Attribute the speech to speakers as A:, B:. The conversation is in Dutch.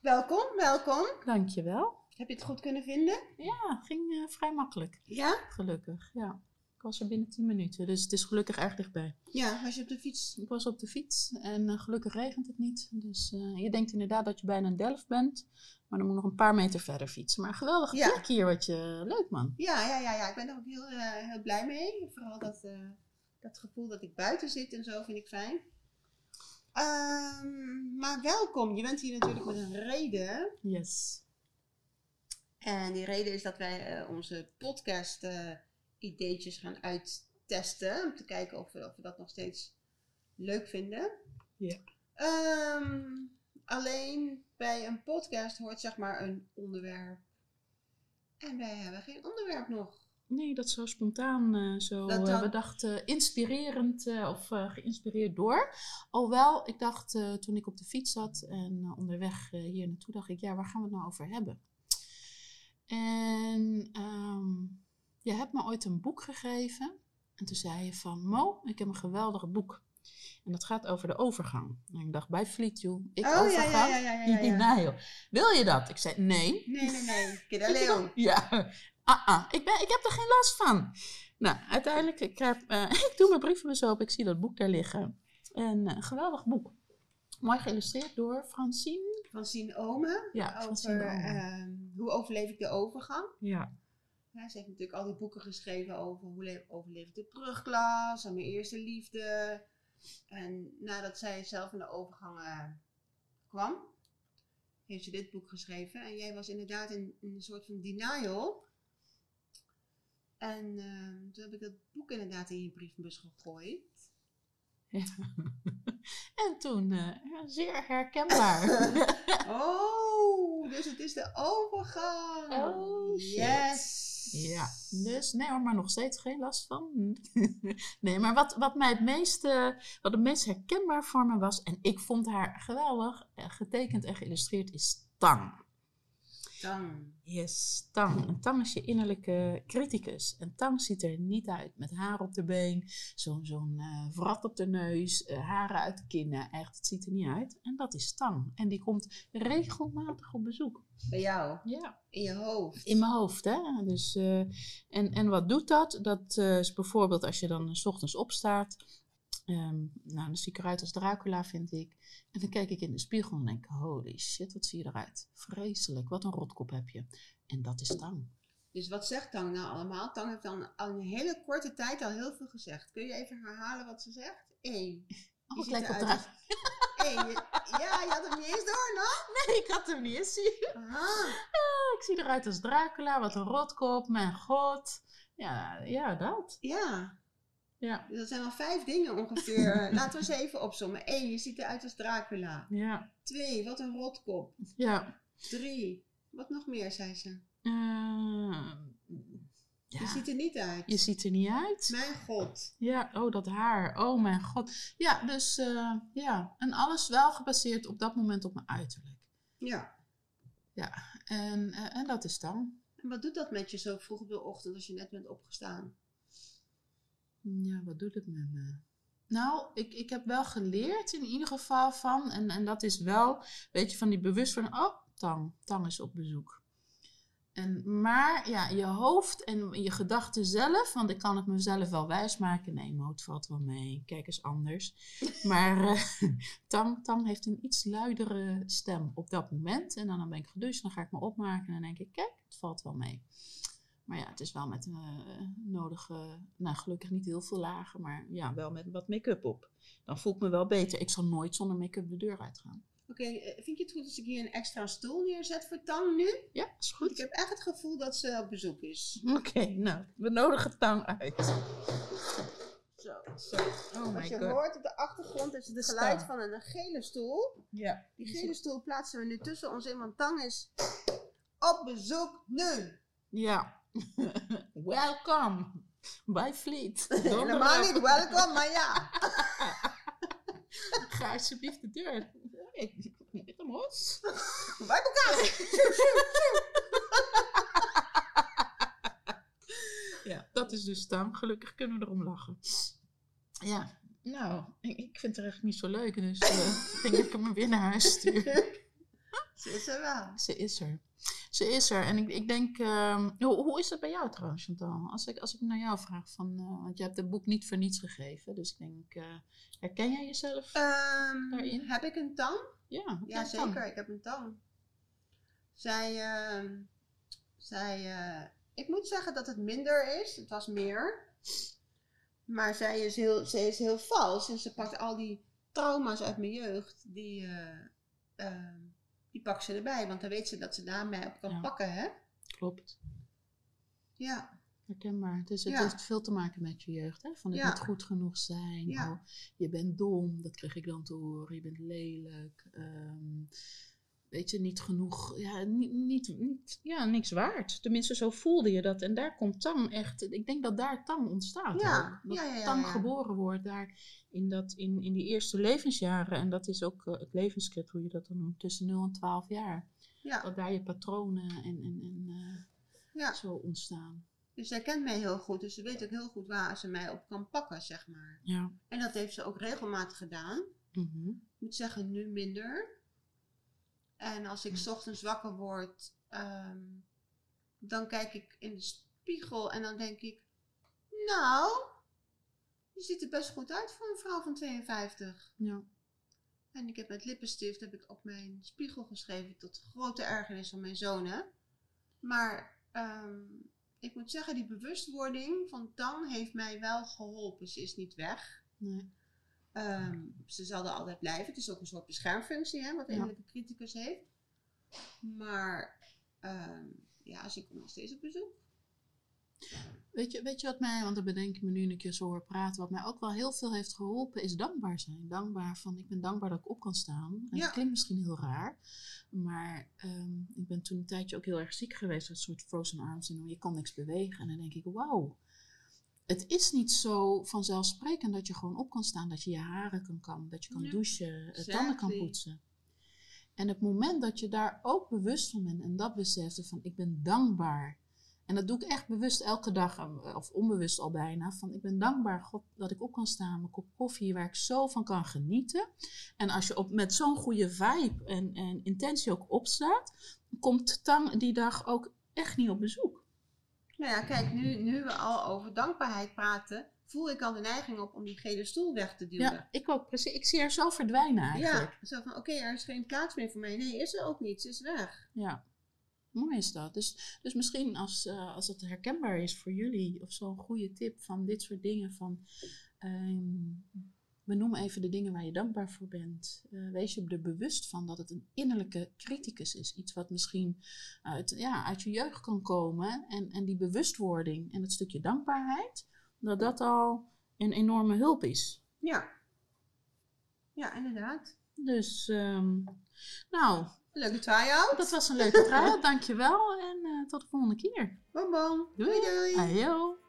A: Welkom, welkom.
B: Dankjewel.
A: Heb je het goed kunnen vinden?
B: Ja, het ging eh, vrij makkelijk.
A: Ja?
B: Gelukkig, ja. Ik was er binnen 10 minuten, dus het is gelukkig erg dichtbij.
A: Ja, was je op de fiets?
B: Ik was op de fiets en eh, gelukkig regent het niet. Dus eh, je denkt inderdaad dat je bijna in Delft bent, maar dan moet je nog een paar meter verder fietsen. Maar geweldig
A: Ja.
B: plek hier, wat je... Leuk man.
A: Ja, ja, ja, ja. ik ben er ook heel, eh, heel blij mee. Vooral dat, eh, dat gevoel dat ik buiten zit en zo vind ik fijn. Ehm, maar welkom. Je bent hier natuurlijk met een reden.
B: Yes.
A: En die reden is dat wij eh, onze podcast eh, ideetjes gaan uittesten. Om te kijken of we, of we dat nog steeds leuk vinden.
B: Ja.
A: Ehm, alleen bij een podcast hoort zeg maar een onderwerp. En wij hebben geen onderwerp nog.
B: Nee, dat zo spontaan eh, zo.
A: Dat
B: eh,
A: dan-
B: we dachten inspirerend eh, of eh, geïnspireerd door. Alhoewel, ik dacht eh, toen ik op de fiets zat en eh, onderweg eh, hier naartoe, dacht ik, ja, waar gaan we het nou over hebben? En ehm, je hebt me ooit een boek gegeven. En toen zei je van, Mo, ik heb een geweldig boek. En dat gaat over de overgang. En ik dacht, bij Fleet You, ik overgang.
A: Oh, ja,
B: Nee, joh. Wil je dat? Ik zei, nee.
A: Nee, nee, nee. Kid de Leon.
B: Ja, ah, ah. Ik, ben, ik heb er geen last van. Nou, uiteindelijk, ik, heb, eh, ik doe mijn brievenbus op, ik zie dat boek daar liggen. En eh, een geweldig boek. Mooi geïllustreerd door Francine.
A: Van Sien Omen.
B: Ja,
A: over
B: Omen.
A: ehm, hoe overleef ik de overgang.
B: ja.
A: Ja, ze heeft natuurlijk al die boeken geschreven over hoe le- overleef ik de brugklas en mijn eerste liefde. En nadat zij zelf in de overgang eh, kwam, heeft ze dit boek geschreven. En jij was inderdaad in, in een soort van denial. En eh, toen heb ik dat boek inderdaad in je brievenbus gegooid.
B: En toen, eh, ja, zeer herkenbaar.
A: Oh, dus het is de overgang.
B: Oh, shit.
A: yes.
B: ja, dus nee hoor, maar nog steeds geen last van. nee, maar wat, wat mij het meest, eh, wat het meest herkenbaar voor me was, en ik vond haar geweldig, eh, getekend en geïllustreerd, is Tang.
A: Dan.
B: Yes, Tang. En Tang is je innerlijke criticus. En Tang ziet er niet uit met haar op de been, zo'n zo'n eh, wrat op de neus, eh, haren uit de kinnen. Echt, het ziet er niet uit. En dat is Tang. En die komt regelmatig op bezoek.
A: Bij jou,
B: Ja
A: in je hoofd.
B: in mijn hoofd. Hè? Dus, eh, en, en wat doet dat? Dat eh, is bijvoorbeeld als je dan eh, 's ochtends opstaat. ehm, nou, dan zie ik eruit als Dracula, vind ik. En dan kijk ik in de spiegel en denk: holy shit, wat zie je eruit? Vreselijk, wat een rotkop heb je. En dat is tang.
A: Dus wat zegt Tang nou allemaal? Tang heeft dan al een hele korte tijd al heel veel gezegd. Kun je even herhalen wat ze zegt? Eén.
B: Oh,
A: Je
B: ik
A: ziet
B: lijk op
A: eruit als-
B: Dracula.
A: Eén. Je- Ja, je had hem niet eens door, no?
B: Nee, ik had hem niet eens zien.
A: Aha.
B: Ah, Ik zie eruit als Dracula, wat een rotkop, mijn god. Ja, ja dat.
A: Ja,
B: Ja.
A: dus dat zijn al vijf dingen ongeveer. Laten we eens even opzommen. Eén, je ziet eruit als Dracula.
B: Ja,
A: Twee, wat een rotkop.
B: ja.
A: Drie, wat nog meer, zei ze.
B: Eh, ja.
A: Je ziet er niet uit.
B: Je ziet er niet uit.
A: Mijn god.
B: Ja, oh, dat haar. Oh, mijn god. Ja, dus eh, ja. En alles wel gebaseerd op dat moment op mijn uiterlijk.
A: Ja.
B: En, eh, en dat is dan.
A: En wat doet dat met je zo vroeg op de ochtend als je net bent opgestaan?
B: Ja, wat doet het met me? Nou, ik, ik heb wel geleerd in ieder geval van. En, en dat is wel, weet je, van die bewustwording. Oh, Tang. Tang is op bezoek. En, maar ja, je hoofd en je gedachten zelf, want ik kan het mezelf wel wijsmaken. Nee, Mo, het valt wel mee. Kijk eens anders. Maar eh, Tang, Tang heeft een iets luidere stem op dat moment. En dan, dan ben ik gedust, dan ga ik me opmaken en dan denk ik, kijk, het valt wel mee. Maar ja, het is wel met een nodige, nou gelukkig niet heel veel lagen, maar ja, wel met wat make-up op. Dan voel ik me wel beter. Ik zal nooit zonder make-up de deur uitgaan.
A: Oké, eh, vind je het goed als ik hier een extra stoel neerzet voor Tang nu?
B: Ja, is
A: Goed, ik
B: goed.
A: heb echt het gevoel dat ze op bezoek is.
B: Oké, nou, we nodigen Tang uit.
A: Zo.
B: Oh
A: Als
B: my
A: je
B: god.
A: hoort op de achtergrond is het
B: De
A: geluid
B: stang.
A: van een gele stoel.
B: Ja.
A: Die gele stoel plaatsen we nu tussen ons in, want Tang is op bezoek nu.
B: Ja. Welcome bij Fleet.
A: Helemaal niet welkom, maar ja.
B: Ga alsjeblieft de deur. Ik hem los.
A: Waar elkaar.
B: Ja, dat is dus Tang. Gelukkig kunnen we erom lachen. Ja, nou, ik, ik vind het er echt niet zo leuk. Dus eh, ik denk dat ik hem weer naar huis stuur.
A: Ze Ze is er wel.
B: Ze is er. Ze is er. En ik, ik denk, ehm, hoe, hoe is dat bij jou trouwens, Chantal? Als ik, als ik naar jou vraag, van, eh, want je hebt het boek niet voor niets gegeven. Dus ik denk, eh, herken jij jezelf
A: Ehm,
B: Daarin?
A: heb ik een tang?
B: Eh, Ja,
A: Ja,
B: dat kan.
A: zeker. Ik heb een tang. Zij, ehm, zij eh, ik moet zeggen dat het minder is. Het was meer. Maar zij is heel, zij is heel vals. En ze pakt al die trauma's uit mijn jeugd. Die, eh, ehm, die pakt ze erbij. Want dan weet ze dat ze daarmee op kan
B: Ja.
A: pakken, hè?
B: Klopt.
A: Ja.
B: Herkenbaar. Dus het
A: Ja.
B: heeft veel te maken met je jeugd. Hè? Van het
A: Ja.
B: niet goed genoeg zijn.
A: Ja.
B: Oh, je bent dom, dat kreeg ik dan te horen. Je bent lelijk. ehm, weet je, niet genoeg. Ja, niet, niet, niet, ja, niks waard. Tenminste, zo voelde je dat. En daar komt tang echt... Ik denk dat daar tang ontstaat.
A: Ja,
B: ook. Dat
A: ja, ja, ja,
B: tang
A: ja.
B: geboren wordt daar in, dat, in, in die eerste levensjaren. En dat is ook eh, het levenscript, hoe je dat dan noemt. Tussen 0 en 12 jaar.
A: ja.
B: Dat daar je patronen en, en, en eh,
A: Ja.
B: zo ontstaan.
A: Dus zij kent mij heel goed. Dus ze weet ook heel goed waar ze mij op kan pakken, zeg maar.
B: Ja.
A: En dat heeft ze ook regelmatig gedaan.
B: Mhm.
A: Ik moet zeggen, nu minder. En als ik 's ochtends wakker word, ehm, dan kijk ik in de spiegel en dan denk ik, nou, je ziet er best goed uit voor een vrouw van 52.
B: Ja.
A: En ik heb met lippenstift heb ik op mijn spiegel geschreven tot grote ergernis van mijn zonen. Maar ehm, ik moet zeggen, die bewustwording van Tang heeft mij wel geholpen. Ze is niet weg.
B: Nee.
A: Ehm, ze zal er altijd blijven. Het is ook een soort beschermfunctie, hè, wat de
B: Ja.
A: innerlijke criticus heeft. Maar ehm, ja, ze komt nog steeds op bezoek.
B: Weet je, weet je wat mij, want dat bedenk ik me nu een keer zo hoor praten, wat mij ook wel heel veel heeft geholpen, is dankbaar zijn. Dankbaar van, ik ben dankbaar dat ik op kan staan. En
A: Ja.
B: dat klinkt misschien heel raar, maar ehm, ik ben toen een tijdje ook heel erg ziek geweest, een soort frozen arm syndroom. Je kan niks bewegen. En dan denk ik, wauw. Het is niet zo vanzelfsprekend dat je gewoon op kan staan, dat je je haren kan kammen, dat je kan
A: Ja.
B: douchen, eh, tanden kan
A: Exactly.
B: poetsen. En het moment dat je daar ook bewust van bent en dat besefte van ik ben dankbaar. En dat doe ik echt bewust elke dag, eh, of onbewust al bijna. Van ik ben dankbaar God, dat ik op kan staan, mijn kop koffie, waar ik zo van kan genieten. En als je op, met zo'n goede vibe en, en intentie ook opstaat, komt Tang die dag ook echt niet op bezoek.
A: Nou ja, kijk, nu, nu we al over dankbaarheid praten, voel ik al de neiging op om die gele stoel weg te duwen.
B: Ja, ik ook precies. Ik zie haar zo verdwijnen eigenlijk.
A: Ja, zo van, oké, er is geen plaats meer voor mij. Nee, is er ook niet. Ze is weg.
B: Ja, mooi is dat. Dus, dus misschien als, eh, als dat herkenbaar is voor jullie, of zo'n goede tip van dit soort dingen van. ehm, Benoem even de dingen waar je dankbaar voor bent. Eh, wees je er bewust van dat het een innerlijke criticus is. Iets wat misschien uit, ja, uit je jeugd kan komen. En, en die bewustwording en het stukje dankbaarheid, dat dat al een enorme hulp is.
A: Ja. Ja, inderdaad.
B: Dus, ehm, nou,
A: Leuke try-out.
B: dat was een leuke trial. Dankjewel en eh, tot de volgende keer.
A: Bonbon. Doei doei.
B: Ajo.